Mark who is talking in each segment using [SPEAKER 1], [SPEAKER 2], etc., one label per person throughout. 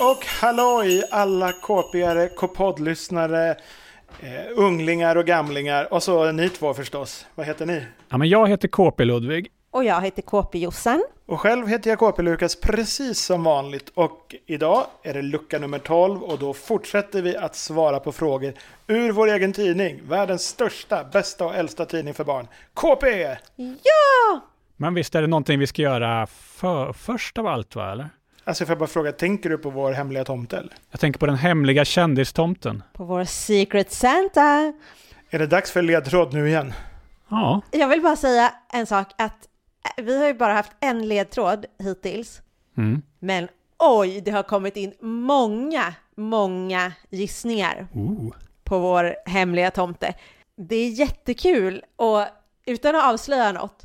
[SPEAKER 1] och halloj alla kåpigare, kåpoddlyssnare, eh, unglingar och gamlingar. Och så ni två förstås. Vad heter ni?
[SPEAKER 2] Ja, men jag heter KP Ludvig.
[SPEAKER 3] Och jag heter KP Jossan.
[SPEAKER 1] Och själv heter jag KP Lukas precis som vanligt. Och idag är det lucka nummer 12 och då fortsätter vi att svara på frågor ur vår egen tidning. Världens största, bästa och äldsta tidning för barn. KP!
[SPEAKER 3] Ja!
[SPEAKER 2] Men visst är det någonting vi ska göra för, först av allt, va? Eller?
[SPEAKER 1] Alltså får jag bara fråga, tänker du på vår hemliga tomte? eller?
[SPEAKER 2] Jag tänker på den hemliga kändistomten.
[SPEAKER 3] På vår Secret Santa.
[SPEAKER 1] Är det dags för ledtråd nu igen?
[SPEAKER 2] Ja,
[SPEAKER 3] Jag vill bara säga en sak att eh, vi har ju bara haft en ledtråd hittills.
[SPEAKER 2] mm.
[SPEAKER 3] Men oj, det har kommit in många, många gissningar
[SPEAKER 2] Ooh.
[SPEAKER 3] på vår hemliga tomte. Det är jättekul och utan att avslöja något.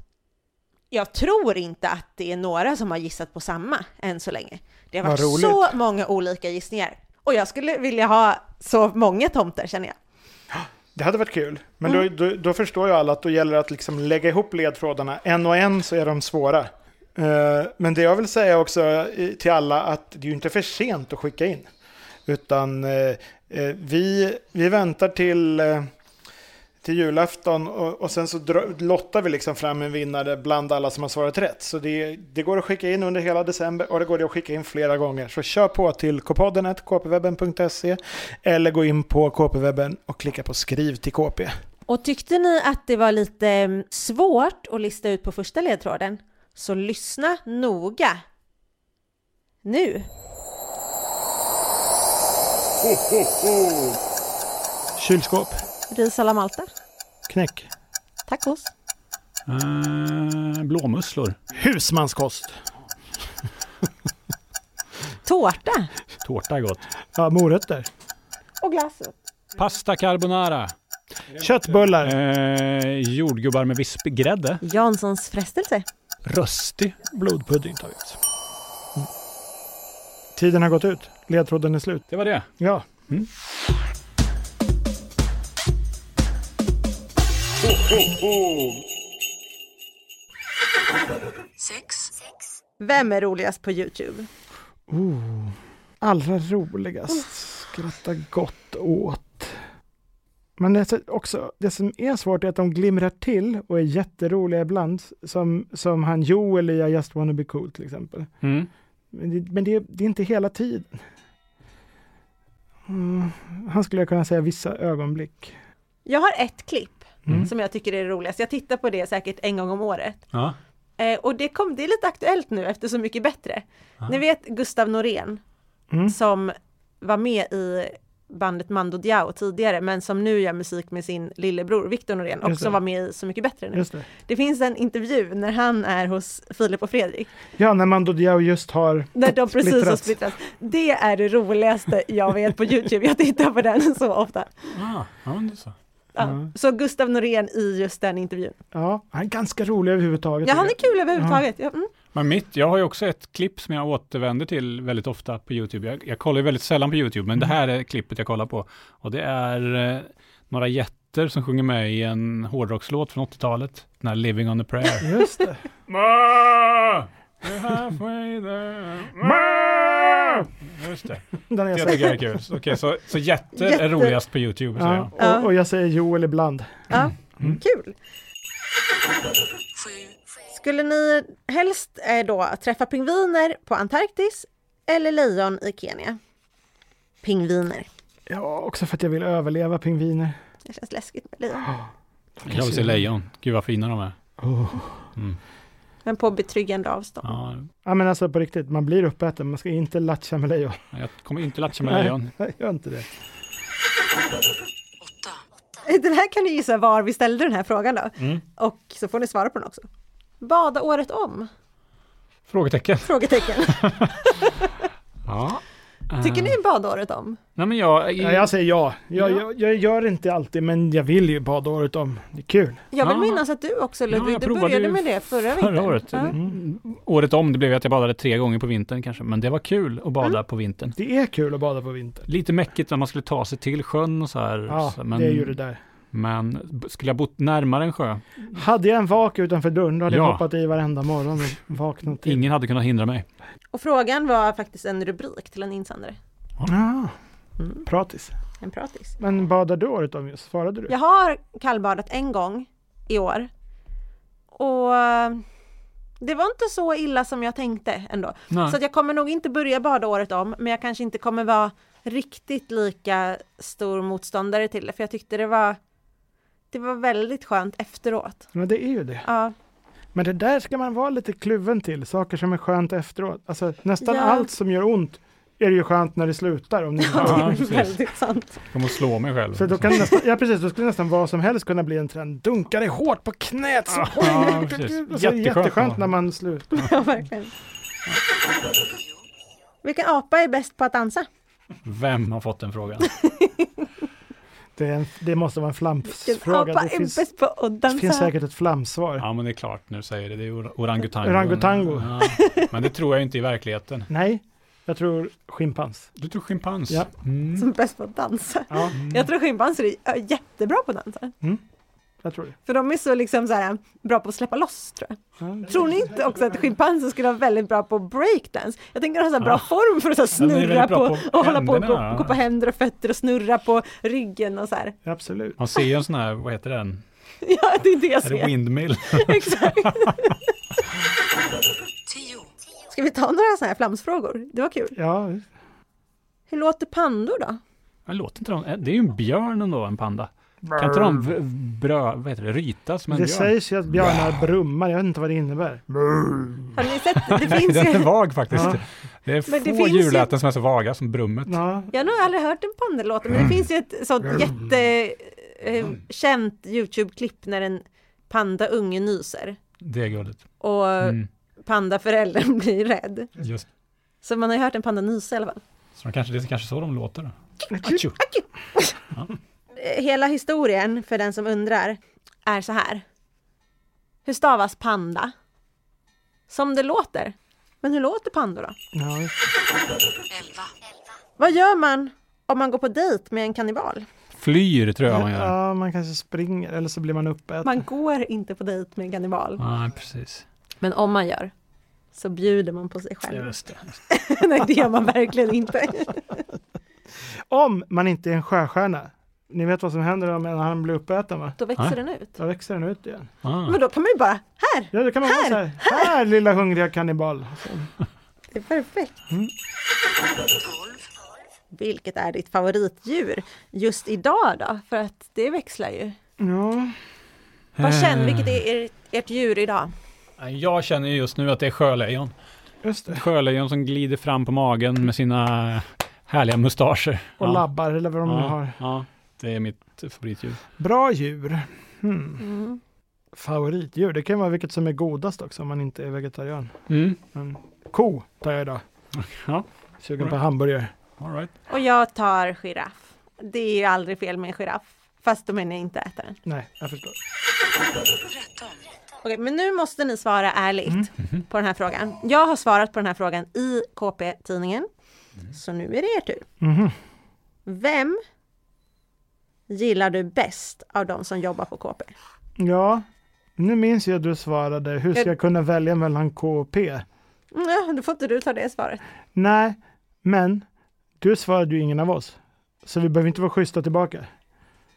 [SPEAKER 3] Jag tror inte att det är några som har gissat på samma än så länge. Det har
[SPEAKER 1] Vad
[SPEAKER 3] varit så många olika gissningar och jag skulle vilja ha så många tomter känner jag.
[SPEAKER 1] Det hade varit kul. Men då, då, då förstår ju alla att då gäller det att liksom lägga ihop ledtrådarna. En och en så är de svåra. Eh, Men det jag vill säga också i- till alla att det är ju inte för sent att skicka in. Utan eh, eh, vi, vi väntar till, eh, till julafton och, och sen så dra, lottar vi liksom fram en vinnare bland alla som har svarat rätt. Så det, det går att skicka in under hela december och det går att skicka in flera gånger. Så kör på till kpodden kpwebben.se eller gå in på kpwebben och klicka på skriv till kp.
[SPEAKER 3] Och tyckte ni att det var lite mm, svårt att lista ut på första ledtråden så lyssna noga nu.
[SPEAKER 1] Kylskåp,
[SPEAKER 3] Ris alla Malta,
[SPEAKER 1] knäck,
[SPEAKER 3] tacos,
[SPEAKER 2] Eh, blåmusslor,
[SPEAKER 1] husmanskost,
[SPEAKER 3] tårta
[SPEAKER 2] tårta är gott.
[SPEAKER 1] ja, morötter,
[SPEAKER 3] och glass.
[SPEAKER 2] Pasta carbonara,
[SPEAKER 1] köttbullar,
[SPEAKER 2] eh, jordgubbar med vispgrädde,
[SPEAKER 3] Janssons frestelse.
[SPEAKER 2] röstig blodpudding tar vi ut.
[SPEAKER 1] tiden har gått ut, ledtråden är slut.
[SPEAKER 2] Det var det.
[SPEAKER 1] Ja.
[SPEAKER 3] Vem är roligast på Youtube?
[SPEAKER 1] Oh, allra roligast. Skratta gott åt. Men det, är också, det som är svårt är att de glimrar till och är jätteroliga ibland. Som, som han Joel i I just wanna be cool till exempel.
[SPEAKER 2] Mm.
[SPEAKER 1] Men det, men det, det är inte hela tiden. Mm, han skulle jag kunna säga vissa ögonblick.
[SPEAKER 3] Jag har ett klipp
[SPEAKER 1] Mm.
[SPEAKER 3] som jag tycker är det roligaste. Jag tittar på det säkert en gång om året.
[SPEAKER 2] Ja.
[SPEAKER 3] Eh, och det, kom, det är lite aktuellt nu efter Så mycket bättre. Ni vet Gustav Norén
[SPEAKER 1] Ah. Mm.
[SPEAKER 3] som var med i bandet Mando Diao tidigare men som nu gör musik med sin lillebror Victor Norén och
[SPEAKER 1] Just det.
[SPEAKER 3] som var med i Så mycket bättre nu.
[SPEAKER 1] Just det.
[SPEAKER 3] Det finns en intervju när han är hos Filip och Fredrik.
[SPEAKER 1] Ja, när Mando Diao just har
[SPEAKER 3] När de precis har
[SPEAKER 1] Splittrats.
[SPEAKER 3] splittrats. Det är det roligaste jag vet på Youtube. Jag tittar på den så ofta.
[SPEAKER 2] Ah, ja, men det är så.
[SPEAKER 3] Ja.
[SPEAKER 1] Ja.
[SPEAKER 3] Så Gustav Norén i just den intervjun.
[SPEAKER 1] Ja, han är ganska rolig överhuvudtaget.
[SPEAKER 3] Ja, han är kul överhuvudtaget. Ja, mm.
[SPEAKER 2] Men mitt, jag har ju också ett klipp som jag återvänder till väldigt ofta på YouTube. Jag, jag kollar ju väldigt sällan på YouTube, men det här är klippet jag kollar på. Och det är eh, några jätter som sjunger med i en hårdrockslåt från 80-talet. Den här Living on a prayer.
[SPEAKER 1] Just det.
[SPEAKER 2] Ma! We're halfway there. Ma! Just det.
[SPEAKER 1] Den har
[SPEAKER 2] Det
[SPEAKER 1] jag
[SPEAKER 2] tycker jag är
[SPEAKER 1] sett.
[SPEAKER 2] kul. Okej, så, så jätter,
[SPEAKER 3] Jätter.
[SPEAKER 2] är roligast på YouTube. säger
[SPEAKER 1] Ja,
[SPEAKER 2] jag.
[SPEAKER 3] Ja.
[SPEAKER 1] och, och jag säger Joel ibland.
[SPEAKER 3] ja.
[SPEAKER 2] Mm.
[SPEAKER 3] kul. Skulle ni helst eh, då träffa pingviner på Antarktis eller lejon i Kenya? Pingviner.
[SPEAKER 1] Ja, också för att jag vill överleva pingviner.
[SPEAKER 3] Det känns läskigt med lejon.
[SPEAKER 2] Jag vill se lejon. Gud vad fina de är.
[SPEAKER 1] Oh.
[SPEAKER 3] Men på betryggande avstånd.
[SPEAKER 2] Ja,
[SPEAKER 1] Ja, men alltså på riktigt, man blir uppäten. Man ska inte latcha med lejon.
[SPEAKER 2] jag kommer inte latcha med lejon.
[SPEAKER 1] Nej, gör inte det.
[SPEAKER 3] Den här kan ni gissa var vi ställde den här frågan då.
[SPEAKER 2] Mm.
[SPEAKER 3] Och så får ni svara på den också. Bada året om?
[SPEAKER 2] Frågetecken.
[SPEAKER 3] Frågetecken.
[SPEAKER 2] Mm. Ja.
[SPEAKER 3] Tycker ni bada året om?
[SPEAKER 2] Nej men jag...
[SPEAKER 1] Ja, jag säger ja. Jag,
[SPEAKER 2] Ja.
[SPEAKER 1] jag, jag gör inte alltid, men jag vill ju bada året om. Det är kul.
[SPEAKER 3] Jag vill
[SPEAKER 2] Ja.
[SPEAKER 3] minnas att du också Ludvig,
[SPEAKER 2] jag
[SPEAKER 3] du
[SPEAKER 2] provade
[SPEAKER 3] började
[SPEAKER 2] ju
[SPEAKER 3] med det förra vintern.
[SPEAKER 2] Förra året.
[SPEAKER 3] Ja.
[SPEAKER 1] Mm.
[SPEAKER 2] Året om, det blev ju att jag badade tre gånger på vintern kanske. Men det var kul att
[SPEAKER 1] Mm.
[SPEAKER 2] bada på vintern.
[SPEAKER 1] Det är kul att bada på vintern.
[SPEAKER 2] Lite mäckigt när man skulle ta sig till sjön och så här.
[SPEAKER 1] Ja,
[SPEAKER 2] så, men,
[SPEAKER 1] det är ju det där.
[SPEAKER 2] Men b- skulle jag bott närmare en sjö,
[SPEAKER 1] Hade jag en vak utanför dörren då hade jag
[SPEAKER 2] Ja.
[SPEAKER 1] hoppat i varenda morgon och vaknat till.
[SPEAKER 2] ingen hade kunnat hindra mig.
[SPEAKER 3] Och frågan var faktiskt en rubrik till en insändare.
[SPEAKER 1] Ah,
[SPEAKER 3] Mm.
[SPEAKER 1] pratis.
[SPEAKER 3] En pratis.
[SPEAKER 1] Men badade du året om just? Svarade du?
[SPEAKER 3] Jag har kallbadat en gång i år. Och det var inte så illa som jag tänkte ändå.
[SPEAKER 2] Nej.
[SPEAKER 3] Så att jag kommer nog inte börja bada året om, men jag kanske inte kommer vara riktigt lika stor motståndare till det, för jag tyckte det var det var väldigt skönt efteråt.
[SPEAKER 1] Men det är ju det.
[SPEAKER 3] Ja,
[SPEAKER 1] Men det där ska man vara lite kluven till, saker som är skönt efteråt. Alltså nästan
[SPEAKER 3] Ja.
[SPEAKER 1] allt som gör ont är ju skönt när det slutar. Om det inte
[SPEAKER 2] Ja,
[SPEAKER 1] var-
[SPEAKER 3] det är
[SPEAKER 2] precis.
[SPEAKER 3] väldigt sant.
[SPEAKER 2] Jag kommer att slå mig själv.
[SPEAKER 1] Så då kan det nästan, ja precis, då skulle nästan vad som helst kunna bli en trend. Dunka dig hårt på knät så hårt!
[SPEAKER 2] Ah, Ja,
[SPEAKER 1] Alltså,
[SPEAKER 2] precis.
[SPEAKER 1] det är
[SPEAKER 2] Jätteskönt
[SPEAKER 1] jätteskönt
[SPEAKER 2] då.
[SPEAKER 1] när man slutar.
[SPEAKER 3] Ja, verkligen. Vilken apa är bäst på att dansa?
[SPEAKER 2] Vem har fått den frågan?
[SPEAKER 1] Det, är en, det måste vara en
[SPEAKER 3] Vilken
[SPEAKER 1] flamsfråga.
[SPEAKER 3] apa
[SPEAKER 1] Det
[SPEAKER 3] är
[SPEAKER 1] finns,
[SPEAKER 3] bäst på att
[SPEAKER 1] det finns
[SPEAKER 3] dansa?
[SPEAKER 1] säkert ett flamsvar.
[SPEAKER 2] Ja, men det är klart när du säger det. Det är or- orangutango.
[SPEAKER 1] Orangutango.
[SPEAKER 2] Ja, men det tror jag inte i verkligheten.
[SPEAKER 1] Nej, jag tror schimpans.
[SPEAKER 2] Du tror schimpans?
[SPEAKER 1] Ja.
[SPEAKER 2] Mm.
[SPEAKER 3] Som är bäst på att dansa?
[SPEAKER 1] Ja,
[SPEAKER 3] Jag tror schimpanser är är jättebra på att dansa.
[SPEAKER 1] jag tror det.
[SPEAKER 3] För de är så liksom så här, bra på att släppa loss tror jag.
[SPEAKER 1] Ja.
[SPEAKER 3] Tror ni inte också att schimpanser skulle vara väldigt bra på breakdance? Jag tänker att de har så här bra
[SPEAKER 2] Ja.
[SPEAKER 3] form för att så
[SPEAKER 2] Ah.
[SPEAKER 3] här,
[SPEAKER 2] Ja, de är väldigt
[SPEAKER 3] snurra på,
[SPEAKER 2] bra på
[SPEAKER 3] och hålla på och
[SPEAKER 2] händerna.
[SPEAKER 3] gå, gå på händer och fötter och snurra på ryggen och så här.
[SPEAKER 1] Absolut.
[SPEAKER 2] Man ser ju en sån här, vad heter den?
[SPEAKER 3] Ja, det är det jag
[SPEAKER 2] Är det
[SPEAKER 3] ser.
[SPEAKER 2] windmill?
[SPEAKER 3] Exakt. Ska vi ta några sådana här flamsfrågor? Det var kul.
[SPEAKER 1] Ja,
[SPEAKER 3] Hur låter pandor då?
[SPEAKER 2] Men Låter inte de, eh, det är ju en björn ändå, en panda. Kan inte de v- brö, vad heter det, ryta som en
[SPEAKER 1] det
[SPEAKER 2] björn?
[SPEAKER 1] sägs ju att björnar brummar, jag vet inte vad det innebär.
[SPEAKER 3] Har ni sett? Det finns
[SPEAKER 2] Den är
[SPEAKER 3] ju...
[SPEAKER 2] vag faktiskt.
[SPEAKER 1] Ja.
[SPEAKER 2] Det är
[SPEAKER 3] Men det
[SPEAKER 2] få
[SPEAKER 3] finns ju-
[SPEAKER 2] djurläten som är så vaga som brummet.
[SPEAKER 1] Ja,
[SPEAKER 3] Jag har nog aldrig hört en panda låta, men det finns ju ett sånt jättekänt YouTube-klipp när en pandaunge nyser.
[SPEAKER 2] Det är gulligt.
[SPEAKER 3] Och
[SPEAKER 2] Mm.
[SPEAKER 3] pandaföräldern blir rädd.
[SPEAKER 2] Just.
[SPEAKER 3] Så man har ju hört en panda nysa i alla fall.
[SPEAKER 2] Så de kanske, det är kanske så de låter. Då. Atjo.
[SPEAKER 3] Eh, Hela historien, för den som undrar, är så här. Hur stavas panda? Som det låter. Men hur låter pandor då?
[SPEAKER 1] ja, just
[SPEAKER 3] Vad gör man om man går på dejt med en kannibal?
[SPEAKER 2] Flyr tror jag man
[SPEAKER 1] det.
[SPEAKER 2] gör.
[SPEAKER 1] ja, man kanske springer eller så blir man uppäten.
[SPEAKER 3] Man går inte på dejt med en kannibal.
[SPEAKER 2] Nej, precis.
[SPEAKER 3] Men om man gör, så bjuder man på sig själv.
[SPEAKER 2] Just det.
[SPEAKER 3] Nej, det gör man verkligen inte.
[SPEAKER 1] Om man inte är en sjöstjärna, ni vet vad som händer om en han blir uppäten va?
[SPEAKER 3] Då växer
[SPEAKER 2] Nej.
[SPEAKER 3] den ut.
[SPEAKER 1] Då växer den ut igen.
[SPEAKER 2] Ah.
[SPEAKER 3] Men då kan man ju bara, här!
[SPEAKER 1] Ja, då kan man vara så här, här lilla hungriga kannibal.
[SPEAKER 3] Det är perfekt. Vilket är ditt favoritdjur just idag då? För att det växlar ju.
[SPEAKER 1] Ja,
[SPEAKER 3] Vad känner,
[SPEAKER 2] Eh.
[SPEAKER 3] vilket är ert, ert djur idag?
[SPEAKER 2] Jag känner ju just nu att det är sjölejon.
[SPEAKER 1] just det.
[SPEAKER 2] Sjölejon som glider fram på magen med sina härliga mustascher.
[SPEAKER 1] Och
[SPEAKER 2] ja.
[SPEAKER 1] labbar eller vad de nu
[SPEAKER 2] ja.
[SPEAKER 1] har.
[SPEAKER 2] Ja, det är mitt favoritdjur.
[SPEAKER 1] Bra djur. Hmm.
[SPEAKER 3] Mm.
[SPEAKER 1] Favoritdjur, det kan vara vilket som är godast också om man inte är vegetarian.
[SPEAKER 2] Mm.
[SPEAKER 1] Men ko tar jag idag.
[SPEAKER 2] Ja,
[SPEAKER 1] Sugen på
[SPEAKER 2] Mm.
[SPEAKER 1] hamburgare.
[SPEAKER 2] all right.
[SPEAKER 3] Och jag tar giraff. Det är ju aldrig fel med en giraff. Fast då menar jag inte äta den.
[SPEAKER 1] Nej, jag förstår.
[SPEAKER 3] Okej, men nu måste ni svara ärligt på den här frågan. Jag har svarat på den här frågan i KP-tidningen. Så nu är det er tur.
[SPEAKER 1] Mhm.
[SPEAKER 3] Vem gillar du bäst av de som jobbar på KP?
[SPEAKER 1] Ja, nu minns jag att du svarade, hur ska jag kunna välja mellan K och P?
[SPEAKER 3] Mm, ja, då får inte du ta det svaret.
[SPEAKER 1] Nej, men du svarade ju ingen av oss. Så vi behöver inte vara schyssta tillbaka.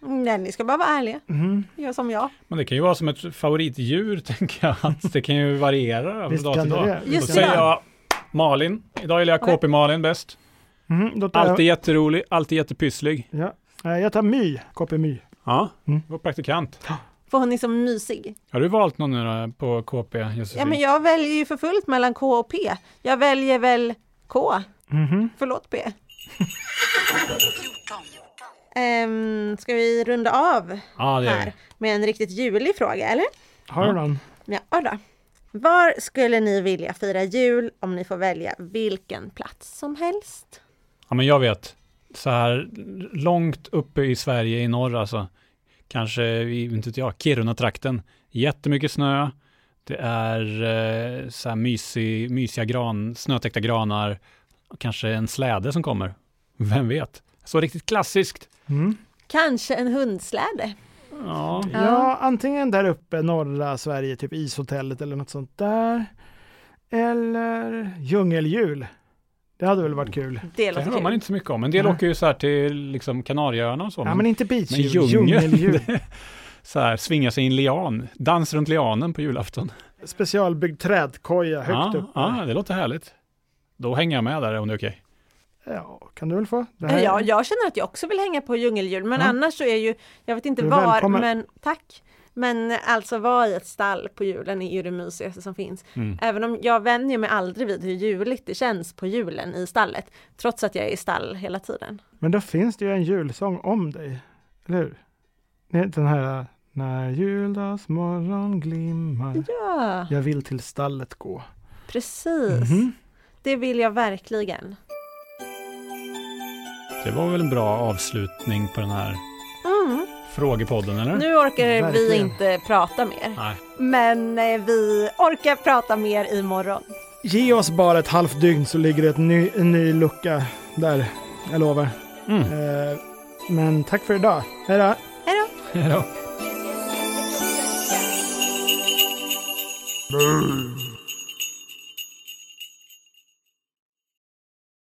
[SPEAKER 3] Nej, ni ska bara vara ärliga.
[SPEAKER 1] Mhm.
[SPEAKER 3] Gör som jag.
[SPEAKER 2] Men det kan ju vara som ett favoritdjur, tänker jag. Att det kan ju variera från
[SPEAKER 1] Visst
[SPEAKER 2] dag
[SPEAKER 1] kan
[SPEAKER 2] till
[SPEAKER 1] det
[SPEAKER 2] dag.
[SPEAKER 1] det?
[SPEAKER 2] Då
[SPEAKER 3] Just
[SPEAKER 1] Visst kan
[SPEAKER 2] säger
[SPEAKER 1] det.
[SPEAKER 2] jag Malin. Idag gillar jag
[SPEAKER 3] Okej.
[SPEAKER 2] KP-Malin bäst.
[SPEAKER 1] Mhm, då tar
[SPEAKER 2] Alltid jätterolig, alltid jättepysslig.
[SPEAKER 1] Jag, ja. Eh, jag tar My, KP My.
[SPEAKER 2] Ja,
[SPEAKER 1] Mm.
[SPEAKER 2] vår praktikant.
[SPEAKER 3] För hon är så mysig.
[SPEAKER 2] Har du valt någon nu då på KP, Josefin?
[SPEAKER 3] Ja, men jag väljer ju för fullt mellan K och P. Jag väljer väl K.
[SPEAKER 1] Mhm.
[SPEAKER 3] Förlåt P. um, ska vi runda av
[SPEAKER 2] Ja, det är
[SPEAKER 3] här
[SPEAKER 2] det.
[SPEAKER 3] med en riktigt julig fråga, eller?
[SPEAKER 1] Har du
[SPEAKER 2] Ja.
[SPEAKER 1] någon?
[SPEAKER 3] Ja då. Var skulle ni vilja fira jul om ni får välja vilken plats som helst?
[SPEAKER 2] Ja, men jag vet. Så här långt uppe i Sverige i norr alltså. Kanske, i, inte vet jag, Kiruna-trakten. Jättemycket snö. Det är eh, så här mysig, mysiga gran, snötäckta granar. Och Kanske en släde som kommer. Vem vet? Så riktigt klassiskt.
[SPEAKER 1] Mm.
[SPEAKER 3] Kanske en hundsläde?
[SPEAKER 2] Ja.
[SPEAKER 3] Ja.
[SPEAKER 1] Ja, antingen där uppe, norra Sverige, typ ishotellet eller något sånt där. Eller djungeljul. Det hade väl varit kul.
[SPEAKER 3] Det
[SPEAKER 2] Det
[SPEAKER 3] låter
[SPEAKER 2] hör man
[SPEAKER 3] kul.
[SPEAKER 2] inte så mycket om. En del
[SPEAKER 1] Nej.
[SPEAKER 2] åker ju så här till liksom Kanarieöarna och så.
[SPEAKER 1] Ja, men inte beachjul,
[SPEAKER 2] men djungel.
[SPEAKER 1] djungeljul.
[SPEAKER 2] Så här, svinga sig i en lian. Dans runt lianen på julafton.
[SPEAKER 1] Specialbyggd trädkoja högt
[SPEAKER 2] ja,
[SPEAKER 1] upp.
[SPEAKER 2] ja, det låter härligt. Då hänger jag med där om det är okej.
[SPEAKER 1] Ja, kan du väl få? Det här-
[SPEAKER 3] Ja, jag känner att jag också vill hänga på djungelhjul, men
[SPEAKER 1] Ja.
[SPEAKER 3] annars så är ju, jag vet inte
[SPEAKER 1] Du är
[SPEAKER 3] var,
[SPEAKER 1] välkommen.
[SPEAKER 3] men tack. Men alltså vara i ett stall på julen är ju det mysigaste som finns.
[SPEAKER 2] Mm.
[SPEAKER 3] Även om jag vänjer mig aldrig vid hur juligt det känns på julen i stallet, trots att jag är i stall hela tiden.
[SPEAKER 1] Men då finns det ju en julsång om dig, eller hur? Nej, Den här När juldagsmorgon glimmar
[SPEAKER 3] Ja,
[SPEAKER 1] Jag vill till stallet gå.
[SPEAKER 3] precis.
[SPEAKER 1] Mhm.
[SPEAKER 3] Det vill jag verkligen.
[SPEAKER 2] Det var väl en bra avslutning på den här
[SPEAKER 3] Mm.
[SPEAKER 2] frågepodden, eller?
[SPEAKER 3] Nu orkar vi
[SPEAKER 1] Verkligen.
[SPEAKER 3] inte prata mer,
[SPEAKER 2] Nej.
[SPEAKER 3] men eh, vi orkar prata mer imorgon.
[SPEAKER 1] Ge oss bara ett halvt dygn så ligger det ett ny, en ny lucka där. Jag lovar.
[SPEAKER 2] Mm.
[SPEAKER 1] Eh, men tack för idag. Hej då!
[SPEAKER 3] Hej då!
[SPEAKER 2] Hej då.
[SPEAKER 1] Brr.